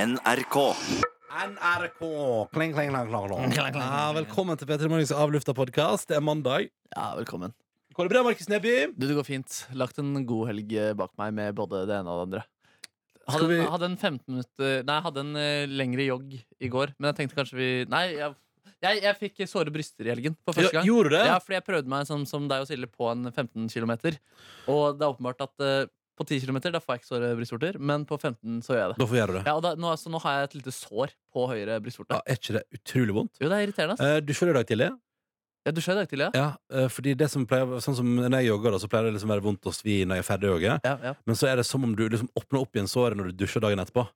NRK. NRK. Kling, kling, klang, klang, klang. Klang, klang, klang, Ja, velkommen til P3 Morgens avlufta podkast. Det er mandag. Ja, velkommen. Går det bra, Markus Neby? Du, det går fint. Lagt en god helg eh, bak meg med både det ene og det andre. Hadde, Skal vi- en- hadde en 15 minutter Nei, jeg hadde en eh, lengre jogg i går, men jeg tenkte kanskje vi Nei, jeg, jeg, jeg fikk såre bryster i helgen for første Ja, gang. Gjorde du det? Ja, fordi jeg prøvde meg som, som deg og Silje på en 15 km, og det er åpenbart at eh, på 10 km da får jeg ikke såre brystvorter, men på 15 så gjør jeg det. Da får vi gjøre det. Ja, og da, nå, så nå har jeg et lite sår på høyre brystvorte. Ja, er ikke det utrolig vondt? Jo, det er irriterende. ass. Eh, Du skjønner i dag tidlig? Jeg dusja i dag tidlig, ja. Ja, eh, fordi det som pleier Sånn som når jeg jogger, da, så pleier det liksom å være vondt å svi når jeg er ferdig å jogge. ja, ja. Men så er det som om du liksom åpner opp igjen såret når du dusjer dagen etterpå.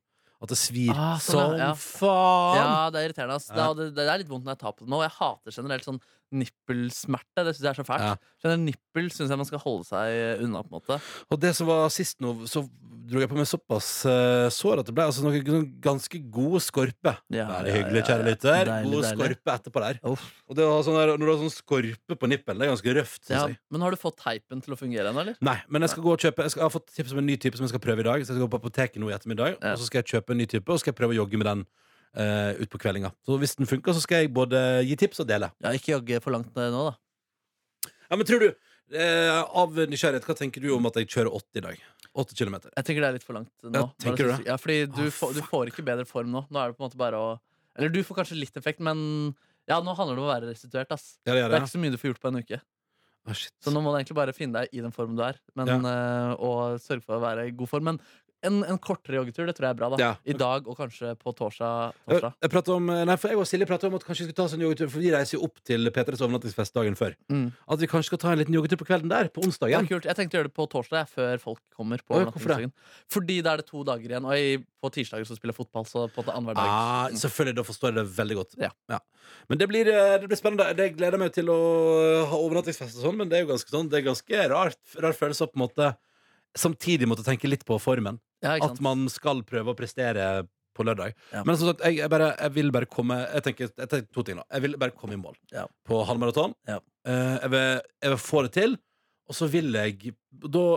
At det svir Ah, sånn, som ja. faen! Ja, det er irriterende. Ass. Det, Ja. er- det, det er litt vondt når jeg tar på det nå. og Jeg hater generelt sånn nippelsmerte. Det syns jeg er så fælt. Ja. Generelt nippel syns jeg man skal holde seg unna. på en måte Og det som var sist nå, så dro jeg på meg såpass eh, sår at det ble altså noe sånn ganske god skorpe. Ja, Veldig ja, hyggelig, ja, kjære ja. lytter. Deilig, God deilig. skorpe etterpå der. Og det å ha sånn der, når du har sånn skorpe på nippelen, det er ganske røft. synes ja, jeg. Men har du fått teipen til å fungere ennå, eller? Nei, men jeg skal gå og kjøpe Jeg, skal, jeg har fått tips om en ny type som jeg skal prøve i dag. Så jeg skal gå på apoteket nå i ettermiddag, Ja. og så skal jeg kjøpe en ny type, og så skal jeg prøve å jogge med den eh, ut på kveldinga. Så hvis den funker, så skal jeg både gi tips og dele. Ja, Ikke jogge for langt nå, da. Ja, men tror du eh, Av nysgjerrighet, hva tenker du om at jeg kjører 80 i dag? 8 kilometer. Jeg tenker det er litt for langt nå. Ja, Bare tenker synes- du det? Ja, fordi du, Ah, får, du får ikke bedre form nå. Nå er det på en måte bare å Eller du får kanskje litt effekt, men ja, nå handler det om å være restituert. ass Ja, det Det gjør er jeg. ikke så mye du får gjort på en uke. Ah, shit. Så nå må du egentlig bare finne deg i den formen du er, men, eh, og sørge for å være i god form. Men en, en kortere joggetur det tror jeg er bra. da Ja. Øh, I dag og kanskje på torsdag. Jeg, torsdag. Eh, jeg, pratet om, nei, for jeg og Silje pratet om at kanskje vi skulle ta oss en joggetur, for vi reiser jo opp til P3s overnattingsfest dagen før. Mm. At vi kanskje skal ta en liten joggetur på kvelden der, på Det onsdagen. er kult. Jeg tenkte å gjøre det på torsdag, jeg, før folk kommer. på Oi, hvorfor overnattingsdagen. det? Fordi da er det to dager igjen, og jeg, på tirsdager så spiller jeg fotball. Så på en måte annenhver dag Ah, selvfølgelig, da forstår jeg det veldig godt. Mm. Ja. Men det blir, eh, det blir spennende. Det gleder jeg meg til å ha overnattingsfest og sånn, men det er jo ganske sånn, det er ganske rart, rar følelse å på en måte samtidig måtte tenke litt på formen. ja, ikke At sant? man skal prøve å prestere på lørdag. Ja. Men som sagt, jeg, jeg, bare, jeg vil bare komme Jeg tenker, jeg tenker to ting nå. Jeg vil bare komme i mål Ja. på halvmaraton. Ja. Eh, jeg, vil, jeg vil få det til, og så vil jeg da,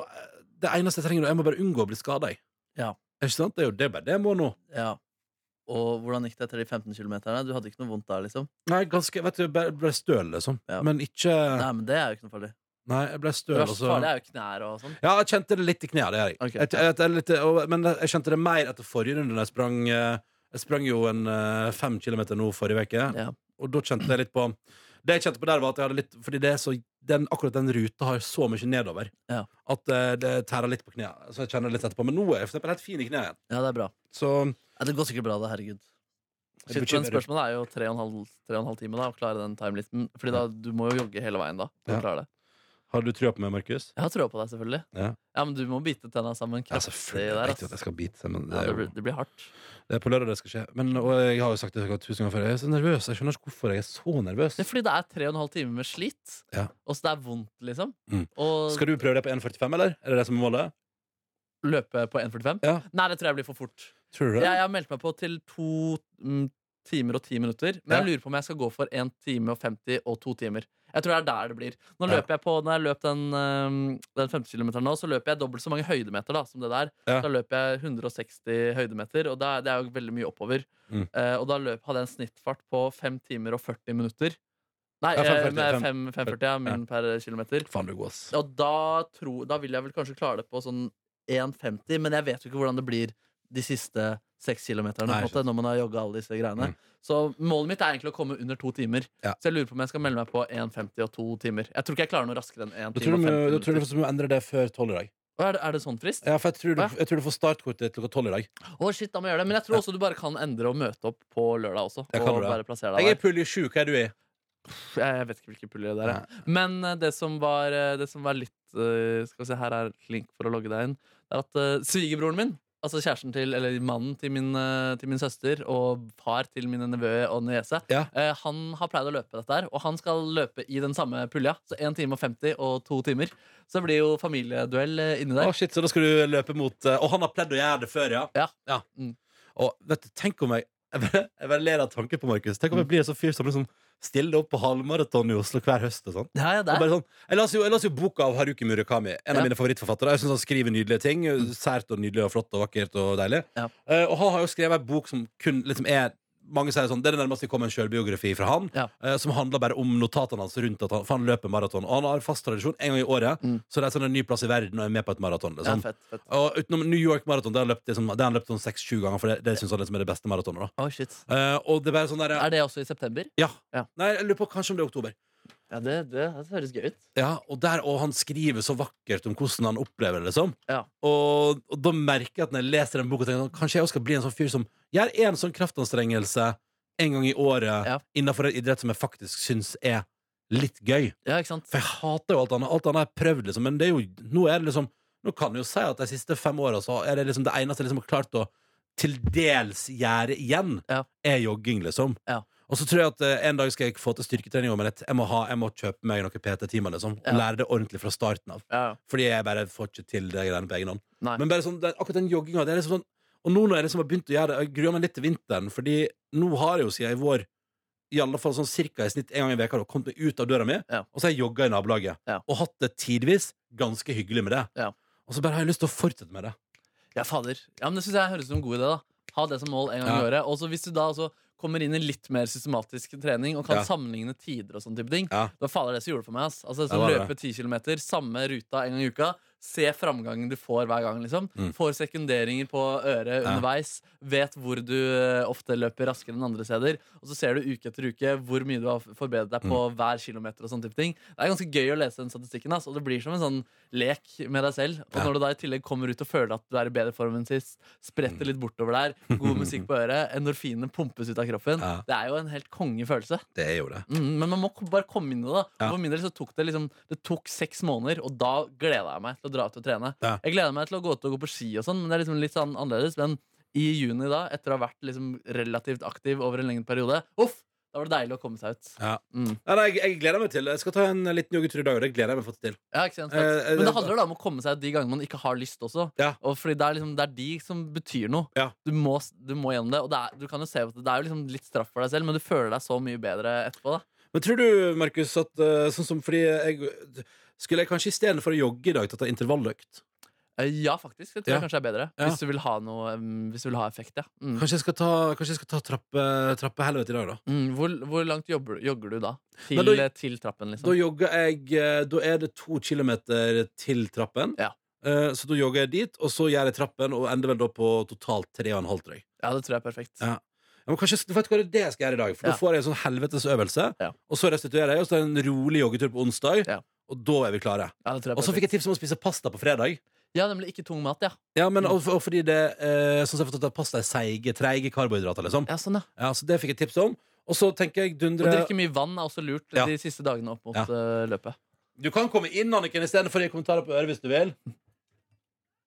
Det eneste jeg trenger nå, jeg må bare unngå å bli skada. Ja. Ikke sant? Det er jo det, er bare det jeg må nå. Ja. Og hvordan gikk det etter de 15 km? Du hadde ikke noe vondt da, liksom? Nei, ganske, vet du, jeg ble, ble støl, liksom. Ja. Men ikke Nei. altså- Nei, men det er jo ikke noe farlig. jeg ble Det støl, og verste så farlige er jo knær og sånn. Ja, jeg kjente det litt i knærne, det gjør jeg. Ok. Jeg- jeg- jeg er litt- eh, og- Men jeg kjente det mer etter forrige runde. da Jeg sprang, eh, jeg sprang jo en eh, fem kilometer nå forrige uke, Ja. og da kjente jeg litt på Det jeg kjente på der, var at jeg hadde litt Fordi det er så den, akkurat den ruta har så mye nedover Ja. at eh, det tærer litt på knærne. Så jeg kjenner det litt etterpå. Men nå er jeg for eksempel helt fin i knærne igjen. Ja, det er bra. Så Ja, det går sikkert bra, det. Herregud. Jeg Shit, men bekymrer. spørsmålet er jo tre og en halv, tre og en halv time da, å klare den timelisten. Fordi da, du må jo jogge hele veien da. for Ja. å klare det. har du trua på meg, Markus? Jeg har trua på deg, selvfølgelig. Ja. men du må bite tenna sammen Ja, kraftig selvfølgelig. Jeg der. vet ass. jo at jeg skal bite seg, men det Ja, er det, jo blir, det blir hardt. Det er på lørdag det skal skje. Men, og jeg har jo sagt det tusen ganger før. Jeg er så nervøs. Jeg skjønner ikke hvorfor jeg er så nervøs. Det er fordi det er tre og en halv time med slit, Ja. og så det er vondt, liksom. Mm. Og Skal du prøve det på 1,45, eller? Er det det som er målet? løpe på 1,45? Ja. Nei, det tror jeg blir for fort. Tror du det? Jeg, jeg har meldt meg på til to mm, timer og ti minutter. Men jeg lurer på om jeg skal gå for én time og 50 og to timer. Jeg tror det er der det blir. Nå Ja. løper jeg på, når jeg løp den, um, den 50 kilometeren nå, så løper jeg dobbelt så mange høydemeter da, som det der. Ja. Da løper jeg 160 høydemeter, og da, det er jo veldig mye oppover. Mm. Eh, og da løp, hadde jeg en snittfart på 5 timer og 40 minutter. Nei, eh, Ja, 5,40, 540 er min per kilometer. Faen, du er god, ass. Og da, tror- da vil jeg vel kanskje klare det på sånn 1,50, men jeg vet jo ikke hvordan det blir de siste seks kilometerne på Nei, en måte, når man har jogga alle disse greiene. Mm. Så målet mitt er egentlig å komme under to timer. Ja. Så jeg lurer på om jeg skal melde meg på 1,50 og to timer. Jeg tror ikke jeg klarer noe raskere enn 1 Da time tror og 50 du da tror minutter. jeg du må endre det før tolv i dag. Å, Er, det, er det sånn frist? Ja, for jeg tror, Hva? du, jeg tror du får startkortet ditt klokka tolv i dag. Å, shit, da må jeg gjøre det. Men jeg tror også du bare kan endre og møte opp på lørdag også. Jeg kan og det. bare plassere deg Jeg der. er pulje sju. Hva er du i? Pff, Jeg vet ikke hvilke puljer det er. jeg. Men eh, det som var, eh, det som var litt eh, Skal vi se, her er link for å logge deg inn. Det er at eh, svigerbroren min, altså kjæresten til, eller mannen til min, eh, til min søster, og far til mine nevø og niese, Ja. eh, han har pleid å løpe dette her. Og han skal løpe i den samme pulja. Så 1 time og 50 og to timer. Så det blir jo familieduell eh, inni Å, der. shit, så da skal du løpe mot eh, Og han har pledd å gjøre det før, ja? Ja. Mm. Og vet du, tenk om jeg Jeg bare, jeg bare ler av tanken på Markus. Tenk om jeg blir en sånn fyr som liksom stiller opp på halvmaraton i Oslo hver høst og sånn. Ja, ja, Og der. bare sånn, jeg leste jo, jeg las jo boka av Haruki Murakami, en av Ja. Mm. mine favorittforfattere. Jeg synes Han skriver nydelige ting. Sært og nydelig og flott og vakkert og deilig. Ja. Eh, og han har jo skrevet en bok som kun liksom er mange sier sånn, Det er det nærmeste vi kommer en sjølbiografi fra han, Ja. eh, som handler bare om notatene hans rundt at han, for han løper maraton. Og han har fast tradisjon en gang i året, Mm. så reiser han en ny plass i verden og er med på et maraton. Ja, Liksom. fett, fett. og utenom New York Maraton, der han løpt liksom, der han løpt sånn seks-sju ganger, for det, det syns han liksom er det beste maratonet. da. Å, shit. Eh, og det er bare sånn der, Er det også i september? ja. Ja. Nei, jeg lurer på kanskje om det er oktober. Ja, det, det, det høres gøy ut. Ja, og, der, og han skriver så vakkert om hvordan han opplever det. liksom Ja. og, og da merker jeg at når jeg leser den boka, tenker jeg sånn, kanskje jeg også skal bli en sånn fyr som gjør én sånn kraftanstrengelse en gang i året Ja. innenfor en idrett som jeg faktisk syns er litt gøy. Ja, ikke sant? For jeg hater jo alt annet. Alt annet har jeg prøvd, liksom. Men det er jo, nå er det liksom Nå kan jeg jo si at de siste fem åra så er det liksom det eneste jeg liksom har klart å til dels gjøre igjen, Ja. er jogging, liksom. Ja. Og så tror jeg at eh, en dag skal jeg få til styrketrening, men jeg jeg må, ha, jeg må kjøpe meg noen PT-timer, liksom. Og Ja. lære det ordentlig fra starten av. Ja, ja. Fordi jeg bare får ikke til det greiene på egen hånd. Nei. Men bare sånn, det, akkurat den jogginga det er liksom sånn, Og nå når jeg liksom har begynt å gjøre det, jeg gruer meg litt til vinteren, Fordi nå har jeg jo siden i vår i alle fall sånn cirka i snitt en gang i veka da, kommet meg ut av døra mi, Ja. og så har jeg jogga i nabolaget. Ja. Og hatt det tidvis ganske hyggelig med det. Ja. Og så bare har jeg lyst til å fortsette med det. Ja, fader. Ja, men Det synes jeg høres ut som en god idé. da Ha det som mål en gang i Ja. året. Og så hvis du da også kommer inn i litt mer systematisk trening og kan Ja. sammenligne tider og sånne type ting, Ja. da fader det som gjorde det for meg. ass Altså Ja, sånn det var Løpe 10 km, samme ruta en gang i uka. Se framgangen du får hver gang. liksom Mm. Får sekunderinger på øret Ja. underveis. Vet hvor du eh, ofte løper raskere enn andre steder. Og så ser du uke etter uke hvor mye du har forbedret deg på Mm. hver kilometer. og sånne type ting Det er ganske gøy å lese den statistikken, ass og det blir som en sånn lek med deg selv. Og Ja. når du da i tillegg kommer ut og føler at du er i bedre form enn sist, Mm. spretter litt bortover der, god musikk på øret, endorfinene pumpes ut av kroppen, Ja. det er jo en helt kongefølelse. Det er jo det. Mm, men man må k- bare komme inn i det. da Ja. For min del så tok det liksom Det tok seks måneder, og da gleda jeg meg til å dra ut og trene. Ja. Jeg gleda meg til å gå ut og gå på ski og sånn, men det er liksom litt sånn annerledes. Men i juni, da, etter å ha vært liksom relativt aktiv over en lengre periode, uff, da var det deilig å komme seg ut. Ja. Mm. Nei, nei, jeg, jeg gleder meg til det. Jeg skal ta en liten joggetur i dag, og det gleder jeg meg faktisk til. Ja, ikke sant? Eh, eh, Men det handler da om å komme seg ut de gangene man ikke har lyst også. Ja. Og fordi det er, liksom, det er de som betyr noe. Ja. Du, må, s- du må gjennom det. Og det er, du kan jo se at det er jo liksom litt straff for deg selv, men du føler deg så mye bedre etterpå. da Men tror du, Markus, at eh, sånn som fordi jeg Skulle jeg kanskje istedenfor å jogge i dag, tatt en intervalløkt? Eh, Ja, faktisk. Det tror Ja. jeg kanskje er bedre. Ja. Hvis, du vil ha noe, um, hvis du vil ha effekt, ja. Mm. Kanskje jeg skal ta, kanskje jeg skal ta trappe, trappehelvete i dag, da? Mm. Hvor, hvor langt jobber, jogger du da? Til, Nei, da- eh, til trappen, Da liksom? jogger jeg eh, Da er det to kilometer til trappen. Ja. Eh, Så da jogger jeg dit, og så gjør jeg trappen, og ender vel da på totalt tre og en halv, tror jeg. Ja, det tror jeg er perfekt. Ja. Ja, Men kanskje, du vet hva det er det jeg skal gjøre i dag, for Ja. da får jeg en sånn helvetes øvelse, Ja. og så restituerer jeg, og så er det en rolig joggetur på onsdag, Ja. og da er vi klare. Ja, det tror jeg er Og så fikk perfekt. jeg tips om å spise pasta på fredag. ja, nemlig ikke tung mat, ja. Ja, men og, og fordi det eh, Sånn som jeg har forstått at pasta er seige, treige karbohydrater, liksom. ja, sånn, ja. Ja, så det fikk jeg tips om. Og så tenker jeg Å dundre drikke mye vann er også lurt Ja. de siste dagene opp mot Ja. eh, løpet. Du kan komme inn, Anniken, istedenfor å gi kommentarer på øret hvis du vil.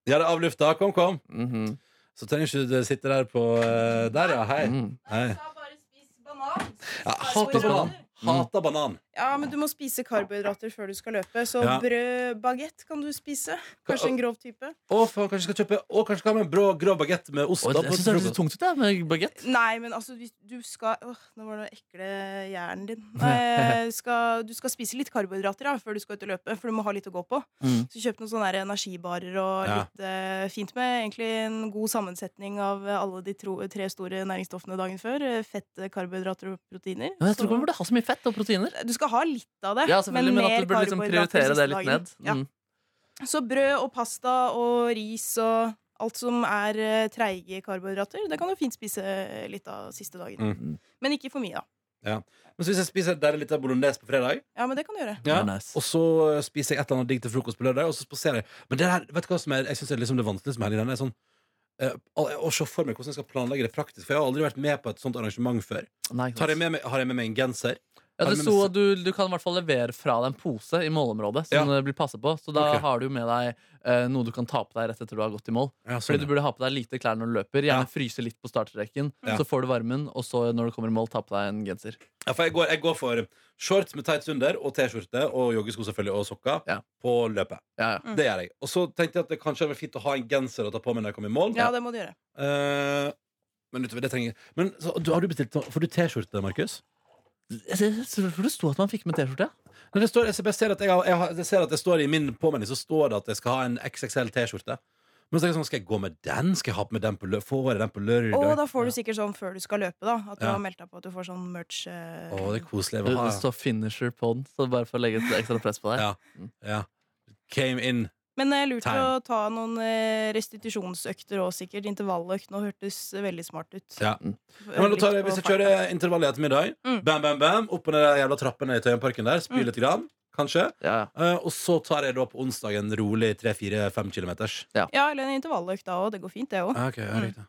Ja, det er avlufta. Kom, kom. Mhm. Så trenger ikke du sitte der på eh, Der, ja. Hei. Mm. hei. Jeg sa bare spis banan. Ja, Spis hater banan. karbohydrater. Mm. Hater banan. Ja, men du må spise karbohydrater før du skal løpe. Så Ja. brød, bagett kan du spise. Kanskje en grov type. Å, faen, kanskje jeg skal kjøpe Å, kanskje jeg skal ha med en brå, grå bagett med ost. Og da jeg på synes det høres litt frokost. tungt ut, jeg, med bagett. Nei, men altså, hvis du skal Åh, nå var det ekle hjernen din. Nei, skal, du skal spise litt karbohydrater ja, før du skal ut og løpe, for du må ha litt å gå på. Mm. Så kjøp noen sånne der energibarer og Ja. litt eh, fint med egentlig en god sammensetning av eh, alle de tro, tre store næringsstoffene dagen før. Eh, Fett, eh, karbohydrater og proteiner. Men jeg tror Så- ikke man burde ha så mye fett og proteiner. du skal ha litt av det, Ja, selvfølgelig, men, at du burde liksom karbohydrater prioritere det siste litt dagen. ned. Ja. Mm. Så brød og pasta og ris og alt som er eh, treige karbohydrater, det kan du fint spise eh, litt av siste dagen. Mm. Men ikke for mye, da. Men så hvis jeg spiser der litt av bolognese på fredag, Ja, men det kan du gjøre. Ja. ja. Nice. og så eh, spiser jeg et eller annet digg til frokost på lørdag, og så spaserer jeg Men det her, vet du hva som er, jeg synes det er liksom det vanskeligste med helgen? Det er sånn eh, å- Å se for meg hvordan jeg skal planlegge det praktisk, for jeg har aldri vært med på et sånt arrangement før. Nei, ikke Tar jeg sant. med meg, har jeg med meg en genser? ja, har det du med sto meg- at du, du kan i hvert fall levere fra deg en pose i målområdet som det blir passet på. Så da Ok. har du med deg eh, noe du kan ta på deg rett etter du har gått i mål. Ja, sånn, Fordi du burde ha på deg lite klær når du løper. Gjerne Ja. fryse litt på startstreken. Ja. Så får du varmen, og så når du kommer i mål, ta på deg en genser. Ja, for jeg går, jeg går for shorts med tights under og T-skjorte og joggesko selvfølgelig og sokker Ja. på løpet. Ja, ja. Det gjør jeg. Og så tenkte jeg at det kanskje hadde vært fint å ha en genser å ta på meg når jeg kommer i mål. Ja, det må du gjøre. Eh, men utover det trenger jeg Men så, du, har du bestilt noe- Får du T-skjorte, Markus? Jeg tror det sto at man fikk med T-skjorte. ja. Når det står, jeg, ser- jeg, ser at jeg, har- jeg, har- jeg ser at det står i min påmelding Så står det at jeg skal ha en XXL T-skjorte Men så tenker jeg sånn, skal jeg gå med den? Skal jeg ha på meg den på lø Får jeg den på lørdag? Og da får du sikkert sånn før du skal løpe, da. At du Ja. har meldt deg på at du får sånn merch. eh, Å, det er koselig jeg Det, vil ha, det står finisher på den, så bare for å legge et ekstra press på deg. Ja. ja. Came in Men det er lurt Time. å ta noen eh, restitusjonsøkter òg, sikkert. Intervalløkt. Nå hørtes veldig smart ut. Ja. ja, men da tar jeg, Hvis jeg kjører intervall i ettermiddag Mm. Bam, bam, bam Opp på den jævla trappen i Tøyenparken der Spyr Mm. litt grann, kanskje Ja, ja. Eh, Og så tar jeg da på onsdag en rolig 3-4-5 kilometers Ja, eller en intervalløkt da òg. Det går fint, det òg. ah, Ok, ja, Mm. riktig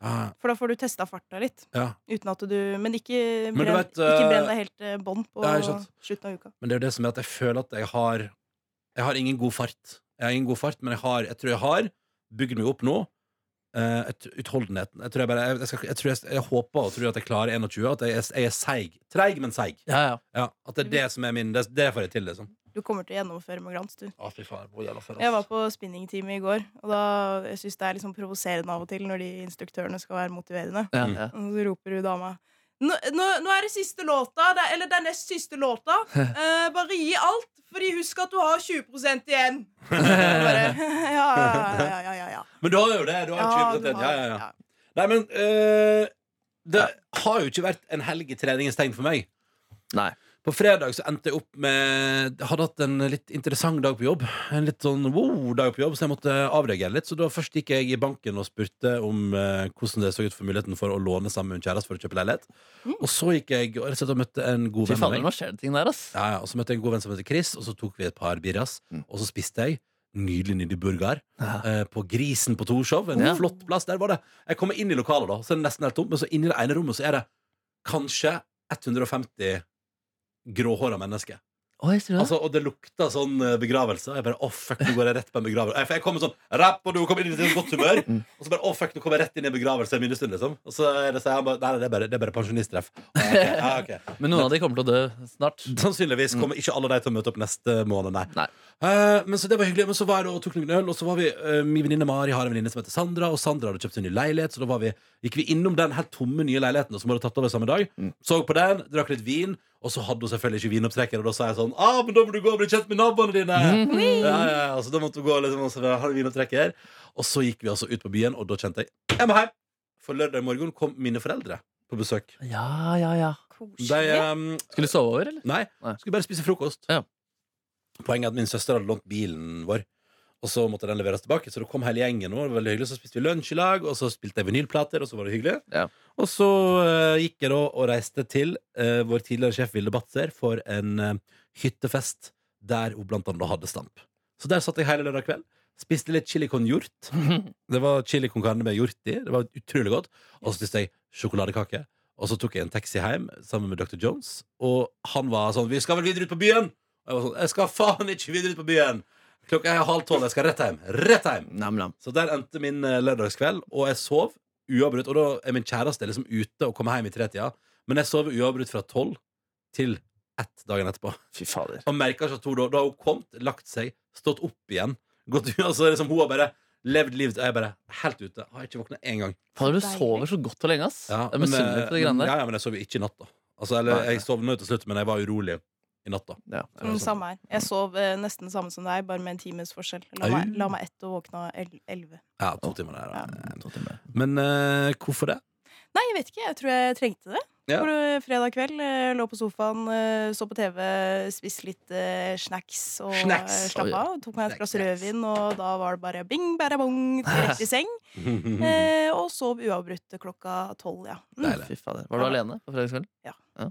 ah, For da får du testa farta litt. Ja Uten at du Men ikke brenn, Men du vet, ikke eh, brenn deg helt eh, bånd på Ja, ikke sant. slutten av uka. Men det er jo det som er at jeg føler at jeg har Jeg har ingen god fart. Jeg har ingen god fart, men jeg, har, jeg tror jeg har bygd meg opp nå. eh, jeg tr- utholdenheten. Jeg tror jeg, bare, jeg, jeg, skal, jeg, tror jeg, jeg håper og tror at jeg klarer 21. At jeg, er- jeg er seig. Treig, men seig. ja, ja. Ja, at det er det som er min Det, det får jeg til, liksom. Du kommer til å gjennomføre med glans, du. Å, fy faen, hvor jævla for oss. Jeg var på spinningtime i går, og da jeg syns det er liksom provoserende av og til når de instruktørene skal være motiverende. ja, Mm. ja. Og så roper hun dama nå, nå, nå er det siste låta, det, eller det er nest siste låta. Eh, bare gi alt, fordi husk at du har 20 igjen. Bare, ja, ja, ja, ja, ja, ja. Men du har jo det. Du har jo 20 du har- ja, ja, ja. Nei, men eh, Det har jo ikke vært en helg i treningens tegn for meg. Nei. På fredag så endte jeg opp med Hadde hatt en litt interessant dag på jobb. En litt sånn wow-dag på jobb, så jeg måtte avreagere litt. Så da først gikk jeg i banken og spurte om eh, hvordan det så ut for muligheten for å låne sammen med en kjæreste for å kjøpe leilighet. Og så gikk jeg og rett og slett og møtte en god Fy venn av fader, meg. nå skjer det ting der, ass. Ja, ja, og så møtte jeg en god venn som heter Chris, og så tok vi et par birras, Mm. og så spiste jeg. Nydelig, nydelig burger Ja. eh, på Grisen på Torshov. En Ja. flott plass. Der var det. Jeg kommer inn i lokalet, da, så er det nesten helt tomt, men så inni det ene rommet så er det kanskje 150 gråhåra mennesker. Oi, sier du det? Altså, og det lukta sånn eh, begravelse. Og jeg bare, å fuck, nå går jeg rett på en begravelse Eh, For jeg kommer sånn, rapp, og du kommer inn i et godt humør Mm. Og så bare, å fuck, nå kommer jeg rett inn i en begravelse En minnestund, liksom Og så er det så jeg bare, nei, nei, det er bare, det er bare pensjonisttreff ah, ok, ja, ok. Men noen av de kommer til å dø snart. Sannsynligvis kommer ikke alle de til å møte opp neste måned, nei. Nei. Eh, men så det var hyggelig. Men så var jeg da og tok noen øl, og så var vi eh, Min venninne Mari har en venninne som heter Sandra, og Sandra hadde kjøpt seg ny leilighet, så da var vi, gikk vi innom den helt tomme nye leiligheten som hun hadde tatt over samme dag. Mm. Så på den, drakk litt vin, og så hadde hun selvfølgelig ikke vinopptrekker, og da sa jeg sånn ah, men da må du gå og bli kjent med naboene dine! Mm. Ja, ja, ja, så da måtte hun gå liksom, og så har du vinopptrekker. Og så gikk vi altså ut på byen, og da kjente jeg Jeg må hjem! For lørdag morgen kom mine foreldre på besøk. Ja, ja, ja. De, Koselig. eh, Skulle du sove over, eller? Nei, Nei. skulle bare spise frokost. Ja. Poenget er at min søster hadde lånt bilen vår, og så måtte den leveres tilbake. Så det kom hele gjengen, og det var veldig hyggelig. Så spiste vi lunsj i lag, og så spilte jeg vinylplater, og så var det hyggelig. Ja. Og så eh, gikk jeg da og reiste til eh, vår tidligere sjef Vilde Batzer for en eh, hyttefest der hun blant annet hadde stamp. Så der satt jeg hele lørdag kveld. Spiste litt chili con hjort. Det var chili con carne med hjort i. Det var utrolig godt. Og så spiste jeg sjokoladekake. Og så tok jeg en taxi hjem sammen med Dr. Jones. Og han var sånn 'Vi skal vel videre ut på byen?' Og jeg var sånn 'Jeg skal faen ikke videre ut på byen'. Klokka er halv tolv. Jeg skal rett hjem. Rett hjem. Nam-nam. Så der endte min eh, lørdagskveld, og jeg sov uavbrutt. Og da er min kjæreste liksom ute og kommer hjem i tretida, men jeg sov uavbrutt fra tolv til ett dagen etterpå. Fy fader. Og merka ikke at hun da, da har hun kommet, lagt seg, stått opp igjen, gått ut, og så er det som hun har bare levd livet, og jeg bare helt ute. Har ikke våkna én gang. Fader, du Deilig. sover så godt og lenge, ass. Ja, jeg eh, er misunnelig på de greiene ja, der. ja, men jeg sov jo ikke i natt, da. Altså, eller Nei. jeg sovna jo til slutt, men jeg var urolig i natt, da. Ja. Mm, samme her. Jeg sov eh, nesten samme som deg, bare med en times forskjell. La Au. meg, la meg ett og våkna el- elleve. Ja, sånn, to timer der, Ja. da. To timer. Men eh, hvorfor det? Nei, jeg vet ikke. Jeg tror jeg trengte det. Ja. For eh, fredag kveld eh, lå på sofaen, eh, så på TV, spiste litt eh, snacks og Snacks. eh, slappa av. Tok meg et glass Snacks. Mm. rødvin, og da var det bare bing, bæra bong, rett i seng. Eh, og sov uavbrutt klokka tolv, ja. Mm, Deilig. Fy fader. Var du alene på fredagskvelden?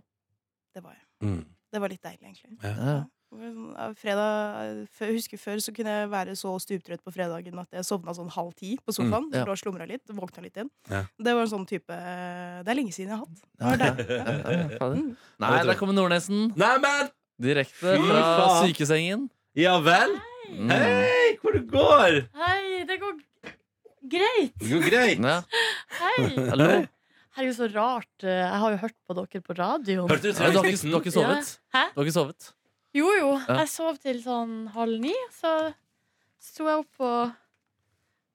det var jeg. Mm. Det var litt deilig, egentlig. Ja. Ja, Fredag, før- jeg husker Før så kunne jeg være så stuptrøtt på fredagen at jeg sovna sånn halv ti på sofaen. ja. Lå og slumra litt, våkna litt igjen. Mm, Ja. Det var en sånn type Det er lenge siden jeg har hatt. Ja, ja, ja, fader. Nei, der kommer Nordnesen. Neimen! Direkte Fy fra faen. sykesengen. Ja vel? Mm. Hei, hvor det går? Hei, det går greit. Det går greit. Ja. Hei. Hallo? Herregud, så rart. Eh, Jeg har jo hørt på dere på radioen. Hørte du Du har ikke, du treningsmiksen? har ikke sovet? Hæ? Du har ikke sovet? Jo, jo. Ja. Jeg sov til sånn halv ni, så sto jeg opp og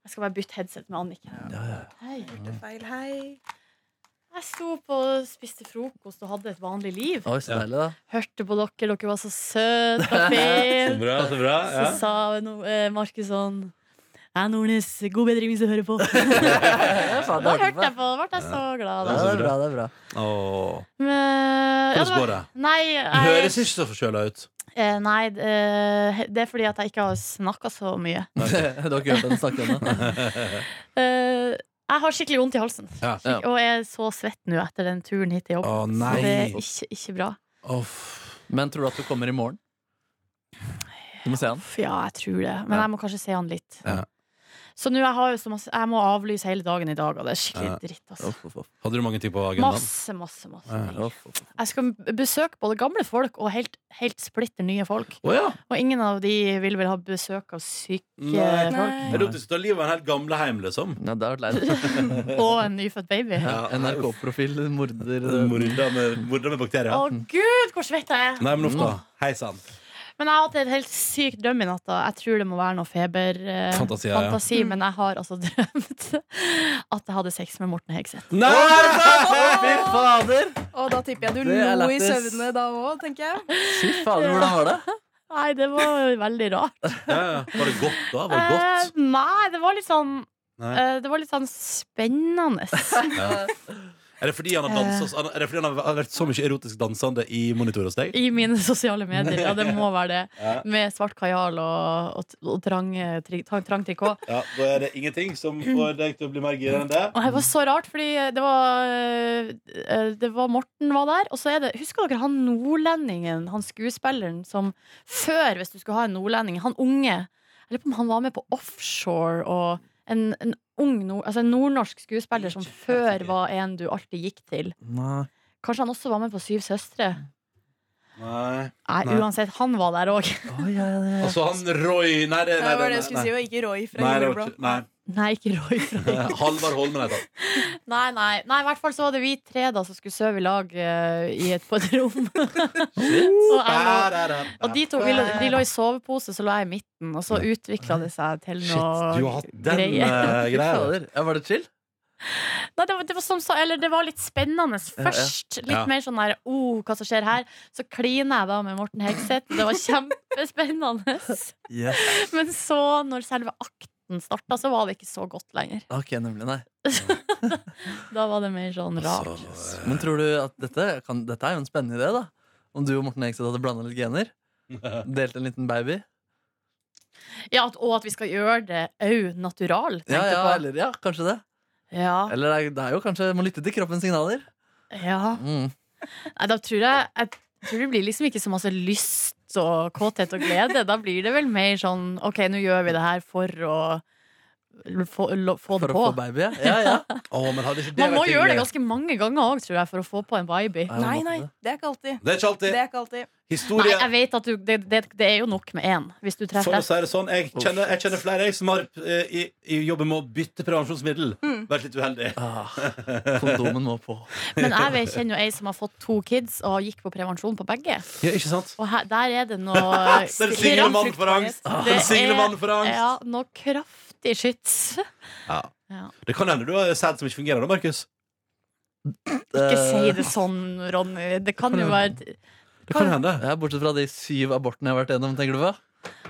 Jeg skal bare bytte headset med Anniken. Ja, ja. Hei. Feil, hei. Jeg sto på og spiste frokost og hadde et vanlig liv. Oi, så Ja. deilig, da. Hørte på dere, dere var så søte og fine. bra, så bra. Så sa no, eh, Markus sånn Nei, Nordnes, god bedring hvis du hører på. Faen, da det er hørte jeg på, da ble jeg så glad. Ja, Da. så bra, det er bra. Åh. Men, ja, det Hvordan var- går det? Nei, Du jeg, høres ikke så forkjøla ut. eh, nei eh, det er fordi at jeg ikke har snakka så mye. du har ikke hørt henne snakke ennå? Eh, jeg har skikkelig vondt i halsen, Ja. Ja. og jeg er så svett nå etter den turen hit til jobb. Å Så det er nei. ikke, ikke bra. Uff. Men tror du at du kommer i morgen? Du må se han. Uff, Ja, jeg tror det. Men Ja. jeg må kanskje se han litt. Ja. Så nå jeg har jo så masse Jeg må avlyse hele dagen i dag, og det er skikkelig Ja. dritt. Altså. Hadde du mange ting på agendaen? Masse, masse, masse. Ja. ting. Jeg skal besøke både gamle folk og helt, helt splitter nye folk. Å ja. Og ingen av de vil vel ha besøk av syke Nei. folk. Er det at du skal ta livet av en helt gamleheim, liksom? Nei, det har vært leit. Og en nyfødt baby. Ja, Ja. NRK-profil, morder Morda med, morda med bakterier? Å gud, hvor svett jeg er! Nei, men uff da. Hei sann. Men jeg har hatt en helt syk drøm i natt. da. Jeg tror det må være noe feber eh, Fantasi, ja, ja. fantasi, Men jeg har altså drømt at jeg hadde sex med Morten Hegseth. Nei! Fy fader! Og da tipper jeg du Det er lo i lættis. søvne da òg, tenker jeg. Fy fader, hvordan var det? Nei, det var veldig rart. Ja, ja. Var det godt, da? Var det godt? Eh, nei, det var litt sånn Nei. eh, Det var litt sånn spennende. Er det fordi han har, danset, er det fordi han har vært så mye erotisk dansende i monitor hos deg? I mine sosiale medier. Ja, det må være det. Ja. Med svart kajal og, og, og trang, eh, tri, trang, trang trikot. Ja, Da er det ingenting som får deg til å bli mer gira enn det. Og det var så rart, fordi det var, eh, det var Morten var der. Og så er det Husker dere han nordlendingen, han skuespilleren som før, hvis du skulle ha en nordlending, han unge Jeg lurer på om han var med på offshore og en, en ung nord, altså en nordnorsk skuespiller som før var en du alltid gikk til. Nei. Kanskje han også var med på Syv søstre? Nei. Nei, Nei. uansett, han var der òg. Å, ja, ja, ja. Altså han Roy Nei, det, nei, Det var det jeg nei, skulle si, og ikke Roy fra nei, det var Juleblå. ikke- nei. Eh, Nei, ikke Roy. Halvard Holmen heter han. Nei, nei, nei, i hvert fall så var det vi tre da som skulle sove i lag eh, i et, på et rom. og, jeg lå- og de to vi lå, de lå i sovepose, så lå jeg i midten, og så utvikla det seg til Shit, du har noe hatt den greie. eh, Fy greia. fader. Ja, var det chill? Nei, det var, det var som sa- eller det var litt spennende Ja, ja. først. Litt Ja. mer sånn der oh, hva som skjer her? Så kliner jeg da med Morten Hegseth. Det var kjempespennende. Yes. Men så, når selve akten starta, så var det ikke så godt lenger. Ok, nemlig, nei Da var det mer sånn rart. Altså, Men tror du at dette, kan, dette er jo en spennende idé, da? Om du og Morten Hegseth hadde blanda litt gener? Delt en liten baby? Ja, at, og at vi skal gjøre det au natural. Ja, tenkte ja, jeg eller, ja, kanskje det. på. ja. Eller det er- det er jo kanskje må lytte til kroppens signaler. ja. Mm. Nei, da tror jeg, jeg tror det blir liksom ikke så masse lyst og kåthet og glede. Da blir det vel mer sånn OK, nå gjør vi det her for å få, lo, få For det å på. få baby, ja. ja, ja. Å, men hadde ikke det Man må vært gjøre det hyggelig? ganske mange ganger òg, tror jeg, for å få på en baby. Ja. Nei, nei, det er ikke alltid. Det er ikke Det alltid. er ikke alltid. Nei, Historie jeg vet at du, det, det, det er jo nok med én, hvis du For treffer å si det sånn, jeg kjenner, jeg kjenner flere jeg som har eh, i, i jobben med å bytte prevensjonsmiddel. Vært litt uheldig. Ah, kondomen må på. Men jeg vet- kjenner jo ei som har fått to kids og gikk på prevensjon på begge. Ja, ikke sant? Og her, der er det noe Den single mannen for angst! Det Den single er- mannen Ah, for angst. Ja, noe kraftig skyts. Ja. Ja. Det kan hende du har sæd som ikke fungerer, da, Markus. Ikke Eh, si det sånn, Ronny. Det kan jo være Det kan hende. Ja, bortsett fra de syv abortene jeg har vært gjennom, tenker du på?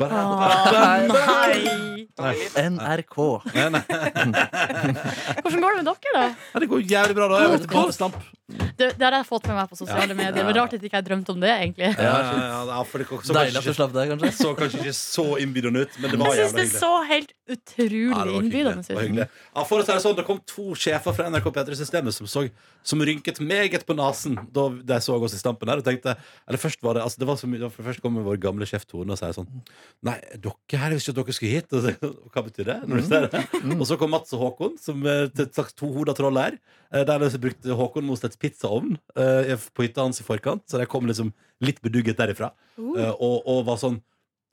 Bare, ah, Nei! nei. NRK. Nei, nei. Hvordan går det med dere, da? Ja, det går jævlig bra, da. Jeg har vært på badestamp. Det, det har jeg fått med meg på sosiale medier. Men Rart at ikke jeg drømte om det, egentlig. Ja, ja, ja, ja, for det så Deilig at du kanskje, slapp deg, ikke, kanskje? så kanskje ikke så innbydende ut, men det var Jeg syns jævla det hyggelig. så helt Ja, det utrolig var hyggelig. innbydende Det var ut. hyggelig. Ja, for å si det sånn, det kom to sjefer fra NRK P3-systemet som, så- som rynket meget på nesen da de så oss i stampen her. Og tenkte, eller først var det, altså, det var så mye, det var- først kom vår gamle sjef Tone og sa sånn Nei, dere her, jeg visste ikke at dere skulle hit. Og, så, hva betyr det? Når du ser det? Mm. Og så kom Mats og Håkon, som eh, til et slags tohoda troll her. eh, Der de brukte Håkon Mosteds pizzaovn eh, på hytta hans i forkant, så de kom liksom litt bedugget derifra. Uh. Eh, Og, og var sånn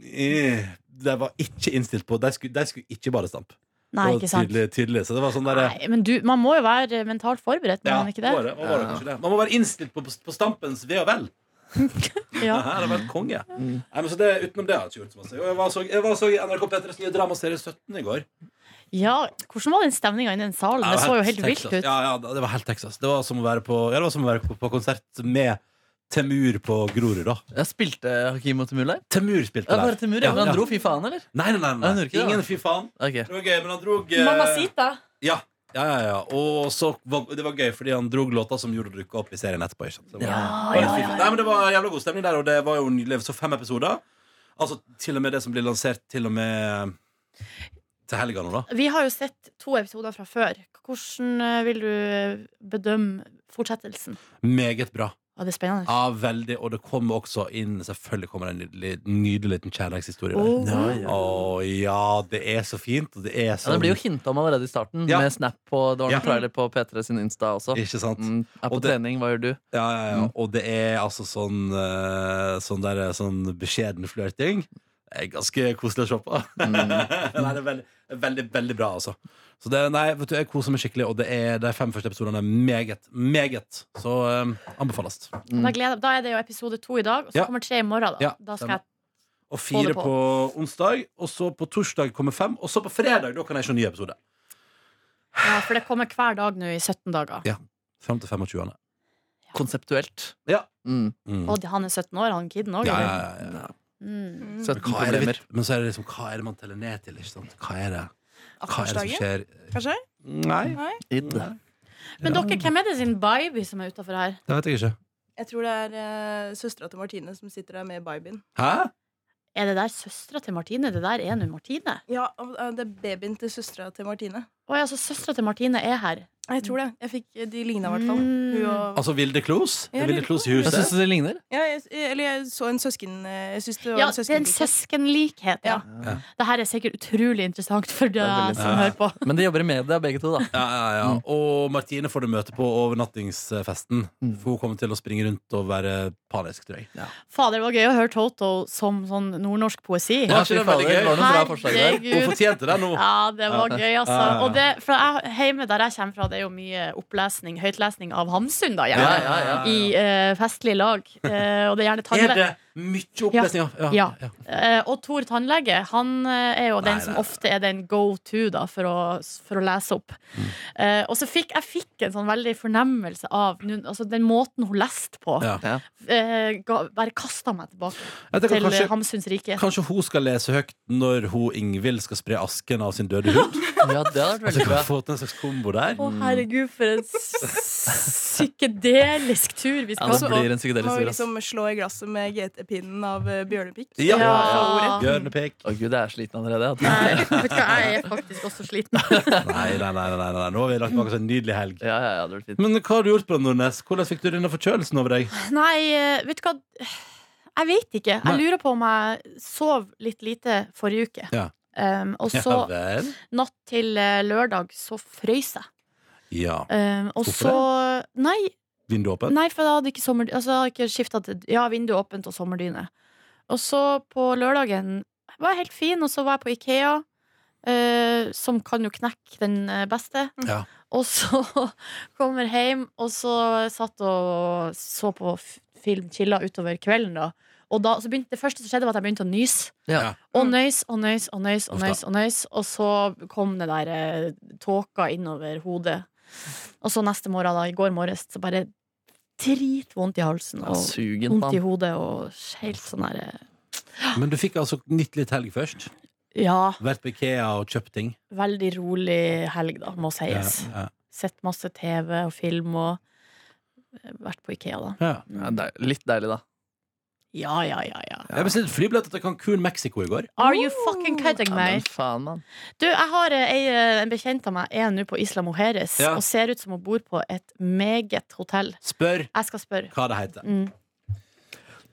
eh, De var ikke innstilt på De skulle, de skulle ikke badestamp. Nei, Det var ikke sant. Tydelig, tydelig. Så det var sånn der, Nei, men du, man må jo være mentalt forberedt, må ja, man ikke det? Var det, var det, Ja. kanskje det. Man må være innstilt på, på stampens ve og vel. Ja. Her har vært konge. Nei, men så det, utenom det har jeg ikke gjort så masse. Og Jeg var så, jeg var så i NRK Petres nye dramaserie 17 i går. Ja, Hvordan var den stemninga inne i den salen? Det så jo helt vilt Texas. ut. Ja, ja, det var helt Texas. Det var som å være på, ja, det var som å være på, på konsert med Temur på Grorud, da. Jeg spilte Hakim og Temur der. Temur spilte Ja, der. bare Temur, ja. Men Ja. han dro, fy faen, eller? Nei, nei, nei. nei. Han gjorde ikke det, Ingen da. fy faen. Ok. Det var gøy, men han drog eh, Mamacita. Ja, ja, ja, ja. Og så var, det var gøy, fordi han drog låta som gjorde å dukke opp i serien etterpå. Ikke sant? Så Det var, Ja, var litt ja, fint. Nei, men det var jævla god stemning der, og det var jo nydelig. Så fem episoder. Altså til og med det som blir lansert til og med eh, til helga nå, da. Vi har jo sett to episoder fra før. Hvordan eh, vil du bedømme fortsettelsen? Meget bra. Ja, det er spennende. Ja, veldig. Og det kommer også inn Selvfølgelig kommer det en nydelig, nydelig liten kjærlighetshistorie der. Åh. Ja, ja. Å ja, det er så fint, og det er Ja, så det blir jo hinta om allerede i starten, Ja. med snap på Det var en Ja. trailer på P3 sin Insta også. Ikke sant? Mm, er på Og det- trening, hva gjør du? Ja, ja, ja. Mm. Og det er altså sånn eh, Sånn, der, sånn beskjeden flørting. Det er ganske koselig å se på. Nei, det er veldig, veldig, veldig bra, altså. Så det, nei, vet du, jeg koser meg skikkelig, og det er de fem første episodene er meget, meget. Så eh, anbefales. Da, gleder, da er det jo episode to i dag, og så Ja. kommer tre i morgen. Da, Ja, da skal jeg Og fire det på. på. onsdag, og så på torsdag kommer fem, og så på fredag da kan jeg se en ny episode. ja, For det kommer hver dag nå i 17 dager. Fram til 25. Konseptuelt. Ja. Mm. Mm. Og han er 17 år, han kiden òg. Ja, ja, ja, ja. Mm. Mm. 17 Hva er det, problemer. vi- men så er det liksom, hva er det man teller ned til? Ikke sant? Hva er det, hva er det som Attendagen, skjer? kanskje? Nei, Nei? Id. Men Ja. dere, hvem er det sin baby som er utafor her? det vet jeg ikke. Jeg tror det er uh, søstera til Martine som sitter der med babyen. Hæ? Er det der søstera til Martine? Det der er nå Martine. Ja, eh, det er babyen til søstera til Martine. Å ja, så søstera til Martine er her. Jeg tror det. Jeg fikk, de ligna i hvert fall. Mm. Hun og- Altså Vilde Klos? Det Ja, er Vilde Vilde Klos i Klos. Jeg huset? syns du det ligner. Ja, jeg, eh, eller jeg så en søsken eh, Jeg syns det var Ja, en det er en søsken. søskenlikhet. Ja. Ja. Det her er sikkert utrolig interessant for er deg veldig sant. som hører på. Men de jobber i media, begge to. da Ja, ja, ja. Mm. Og Martine får du møte på overnattingsfesten. Mm. For hun kommer til å springe rundt og være panisk, tror jeg. Fader, det var gøy å høre Toto som sånn nordnorsk poesi. Ja, fy det fader, er veldig gøy. var det noen bra forslag der? Hun fortjente det nå. Ja, det var gøy, altså. Ja, ja, ja. Og det, for jeg, hjemme der jeg kommer fra, det er jo mye opplesning, høytlesning av Hamsun, da, gjerne. Ja, ja, ja. I eh, festlig lag. Eh, og det er gjerne Er tannlege. det mye opplesning? Ja. Ja. Eh, og Tor tannlege, han eh, er jo Nei, den som nei, nei. ofte er den go to da, for, å, for å lese opp. Eh, og så fikk jeg fikk en sånn veldig fornemmelse av nu- altså, den måten hun leste på. Ja. Ja. Eh, ga, bare kasta meg tilbake Jeg tenker til eh, kanskje, Hamsuns rike. kanskje hun skal lese høyt når hun Ingvild skal spre asken av sin døde hund? Ja, det hadde vært At vi veldig bra. kan få til en slags kombo der? Å, herregud, for en s- psykedelisk tur Ja, vi skal det Altså, på. blir en psykedelisk Må historie, ass. liksom slå i glasset med GT-pinnen av eh, Bjørnepikk. Ja. Ja. Bjørnepek. Å gud, jeg er sliten allerede. jeg. Nei, vet du hva, jeg er faktisk også sliten. Nei, nei, nei, nei, nei, nei. Nå har vi lagt bak oss en nydelig helg. Ja, ja, ja, det hadde vært fint. Men hva har du gjort på den, Nordnes? Hvordan fikk du denne forkjølelsen over deg? Nei, eh, vet du hva Jeg vet ikke. Nei. Jeg lurer på om jeg sov litt lite forrige uke. Ja. Um, og så Ja vel. natt til eh, lørdag så frøys jeg. Ja. Um, og Hvorfor så Nei, Vinduet åpent? nei, for jeg hadde ikke, sommer, altså, jeg hadde ikke skifta til Ja, vinduet åpent og sommerdyne. Og så på lørdagen var jeg helt fin, og så var jeg på Ikea. eh, som kan jo knekke den eh, beste. Ja. Og så kommer hjem, og så satt og så på f- film, chilla utover kvelden, da. Og da, så begynte, det første som skjedde, var at jeg begynte å nyse. Ja. Og nøys og nøys og nøys og Uff da. nøys. Og nøys Og så kom det der eh, tåka innover hodet. Og så neste morgen, da, i går morges, så bare dritvondt i halsen. Ja, Og Sugen på vondt i han. hodet og helt sånn der eh, Men du fikk altså nytt litt helg først? Ja, Vært på Ikea og kjøpt ting? veldig rolig helg, da, må sies. Ja, Sett masse TV og film og eh, vært på Ikea, da. ja, ja. Ja, deil- litt deilig, da. Ja, ja, ja, ja. Jeg bestilte flybillett til Cancún, Mexico i går. Are you Oh. fucking kidding Ja, me? men faen, mann. Du, jeg har eh, ei, eh, en bekjent av meg er nå på Isla Mujeres Ja. og ser ut som hun bor på et meget hotell. Spør Jeg skal spørre. hva det heter. Mm.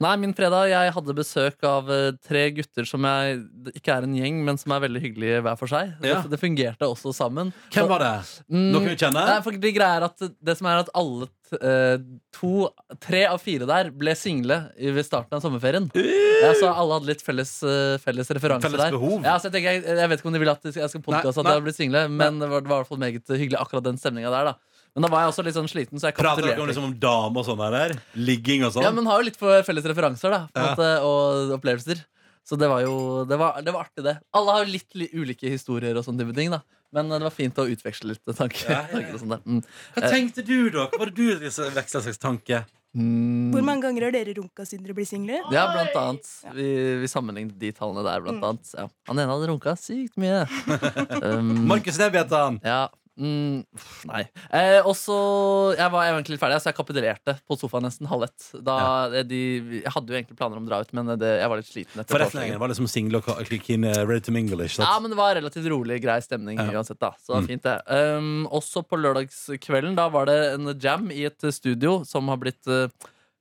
Nei, min fredag, jeg hadde besøk av eh, tre gutter som jeg det ikke er en gjeng, men som er veldig hyggelige hver for seg. Ja. Det, det fungerte også sammen. Hvem var det? Mm, Noen vi Nei, kjenner? for det, greia er at det som er at alle t- eh, to, tre av fire der ble single i- ved starten av sommerferien. Ja, så alle hadde litt felles, eh, felles referanse Felles der. behov. Ja, så jeg, tenker, jeg, jeg vet ikke om de vil at jeg skal podkaste Nei, at jeg ble single, men det var, det var i hvert fall meget hyggelig akkurat den stemninga der. da Men da var jeg også litt sånn sliten, så jeg Prater dere kapitulerte. om, liksom, om dame og sånn der? Ligging og sånn? Ja, men har jo litt for felles referanser da på en Ja. måte, og opplevelser. Så det var jo det var, det var artig, det. Alle har jo litt, li- ulike historier og sånne type ting, da. Men eh, det var fint å utveksle litt tanker. Ja, ja, ja. tanker og sånt der. Mm. Hva tenkte du, da? Hva var det du veksla slags tanke? Mm. Hvor mange ganger har dere runka siden dere ble single? Ja, blant annet. Vi, vi sammenlignet de tallene der, blant annet. Ja. Han ene hadde runka sykt mye. Um, Markus Neby heter han. Ja. Mm, pff, nei. Eh, og så Jeg var egentlig litt ferdig, så jeg kapitulerte på sofaen nesten halv ett. Da, eh, de, jeg hadde jo egentlig planer om å dra ut, men eh, det, jeg var litt sliten. etter Forretningen var liksom single og ka- keen, eh, ready to mingle. Ikke Ja, sant? men det var relativt rolig, grei stemning Ja. Mm. uansett, da. Så det var fint, det. Um, også på lørdagskvelden, da var det en jam i et studio som har blitt uh,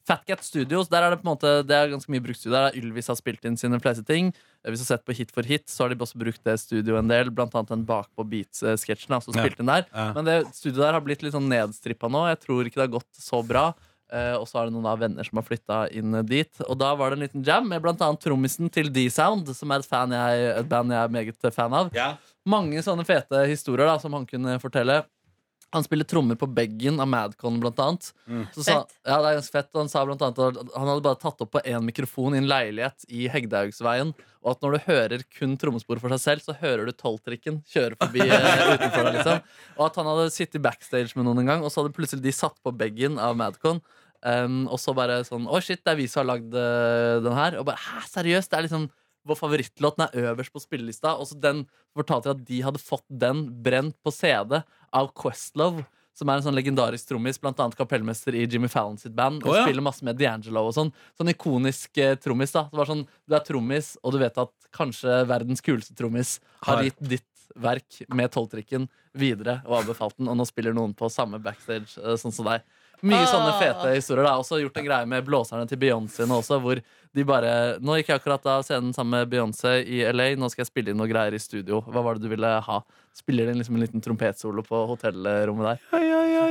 Fat Cat Studios. Der er det på en måte Det er ganske mye brukt studio. Der er Ylvis har spilt inn sine fleste ting. Eh, Hvis du har sett på Hit for hit, så har de også brukt det studioet en del. Blant annet den bakpå Beats-sketsjen, da, som Ja. spilte inn der. Ja. Men det studioet der har blitt litt sånn nedstrippa nå. Jeg tror ikke det har gått så bra. Eh, og så er det noen av venner som har flytta inn dit. Og da var det en liten jam med bl.a. trommisen til D-Sound, som er et, fan jeg, et band jeg er meget fan av. Ja. Mange sånne fete historier da som han kunne fortelle. Han spiller trommer på Beggen av Madcon, blant annet. Mm. Så sa, Fett. ja, det er ganske fett. Og han sa blant annet at han hadde bare tatt opp på én mikrofon i en leilighet i Hegdehaugsveien, og at når du hører kun trommespor for seg selv, så hører du tolvtrikken kjøre forbi eh, utenfor deg, liksom. Og at han hadde sittet backstage med noen en gang, og så hadde plutselig de satt på Beggen av Madcon. Um, og så bare sånn Å, shit, det er vi som har lagd eh, den her. Og bare hæ, seriøst? Det er liksom vår favorittlåt den er øverst på spillelista. Og så den fortalte jeg at de hadde fått den brent på CD av Questlove, som er en sånn legendarisk trommis, blant annet kapellmester i Jimmy Fallon sitt band. Og Å, ja. spiller masse med D'Angelo og sånn. Sånn ikonisk eh, trommis. da Det var sånn, Du er trommis, og du vet at kanskje verdens kuleste trommis har Har. gitt ditt verk med tolvtrikken videre og anbefalt den, og nå spiller noen på samme backstage, eh, sånn som deg. Mye sånne Ah. fete historier. Da. Også gjort en greie med blåserne til Beyoncé nå også, hvor de bare Nå gikk jeg akkurat av scenen sammen med Beyoncé i LA, nå skal jeg spille inn noe greier i studio. Hva var det du ville ha? Spiller de liksom en liten trompetsolo på hotellrommet der?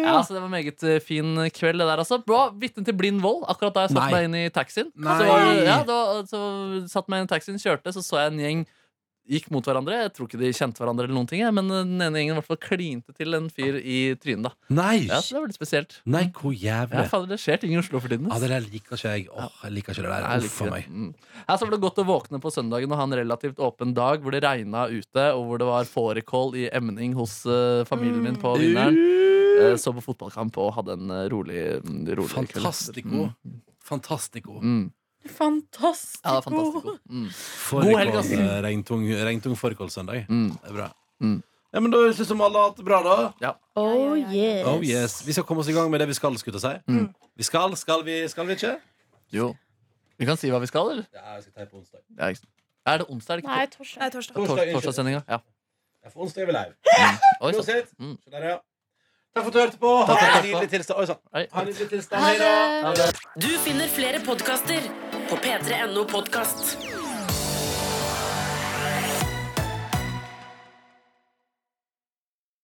Ja, så Det var en meget eh, fin kveld, det der også. Bra, Vitne til blind vold. Akkurat da jeg satte Nei. meg inn i taxien. Nei. Så, var, det- ja, det var, så satt meg inn i taxien, kjørte, så så jeg en gjeng gikk mot hverandre. Jeg tror ikke de kjente hverandre, eller noen ting, jeg, men den ene gjengen i hvert fall klinte til en fyr i trynet. da Nei! Ja, så Det var litt spesielt. Nei, hvor Ja, jævlig. fader, det skjer ting i Oslo for tiden. Ja, ass. det der liker ikke jeg. Åh, jeg liker ikke det Nei, jeg der. Uff liker a det. meg. Mm. Ja, så var det godt å våkne på søndagen og ha en relativt åpen dag hvor det regna ute, og hvor det var fårikål i emning hos eh, familien min på vinneren. Mm. Eh, så på fotballkamp og hadde en eh, rolig, mm, rolig kveld. Fantastico. Fantastico. Mm. Fantastisk. Ja, det er fantastico. Mm. Fårikål, helg, ass. eh, Regntung, regntung fårikålsøndag. Mm. Det er bra. Mm. Ja, men da høres det ut som alle har hatt det bra, da. Oh yes. Oh yes, Vi skal komme oss i gang med det vi skal, skulle jeg til å si. Mm. Vi skal, skal vi, skal vi ikke? Jo. Vi kan si hva vi skal, eller? Ja, jeg skal ta på onsdag. Ja, ikke sant. er det onsdag? Er det Nei, ikke torsdag. Nei, torsdag. tor- tor Torsdag, unnskyld. torsdagssendinga? Ja. Ja, for onsdag er vi live. Oi, sant. Uansett. Mm. Så der, ja. Takk for at du hørte på. Ha Takk, takk, en takk. nydelig tilstand. Oi sann. Hei. Ha en nydelig tilstand. Ha Hei da. det. Du finner flere podkaster på p3.no podkast.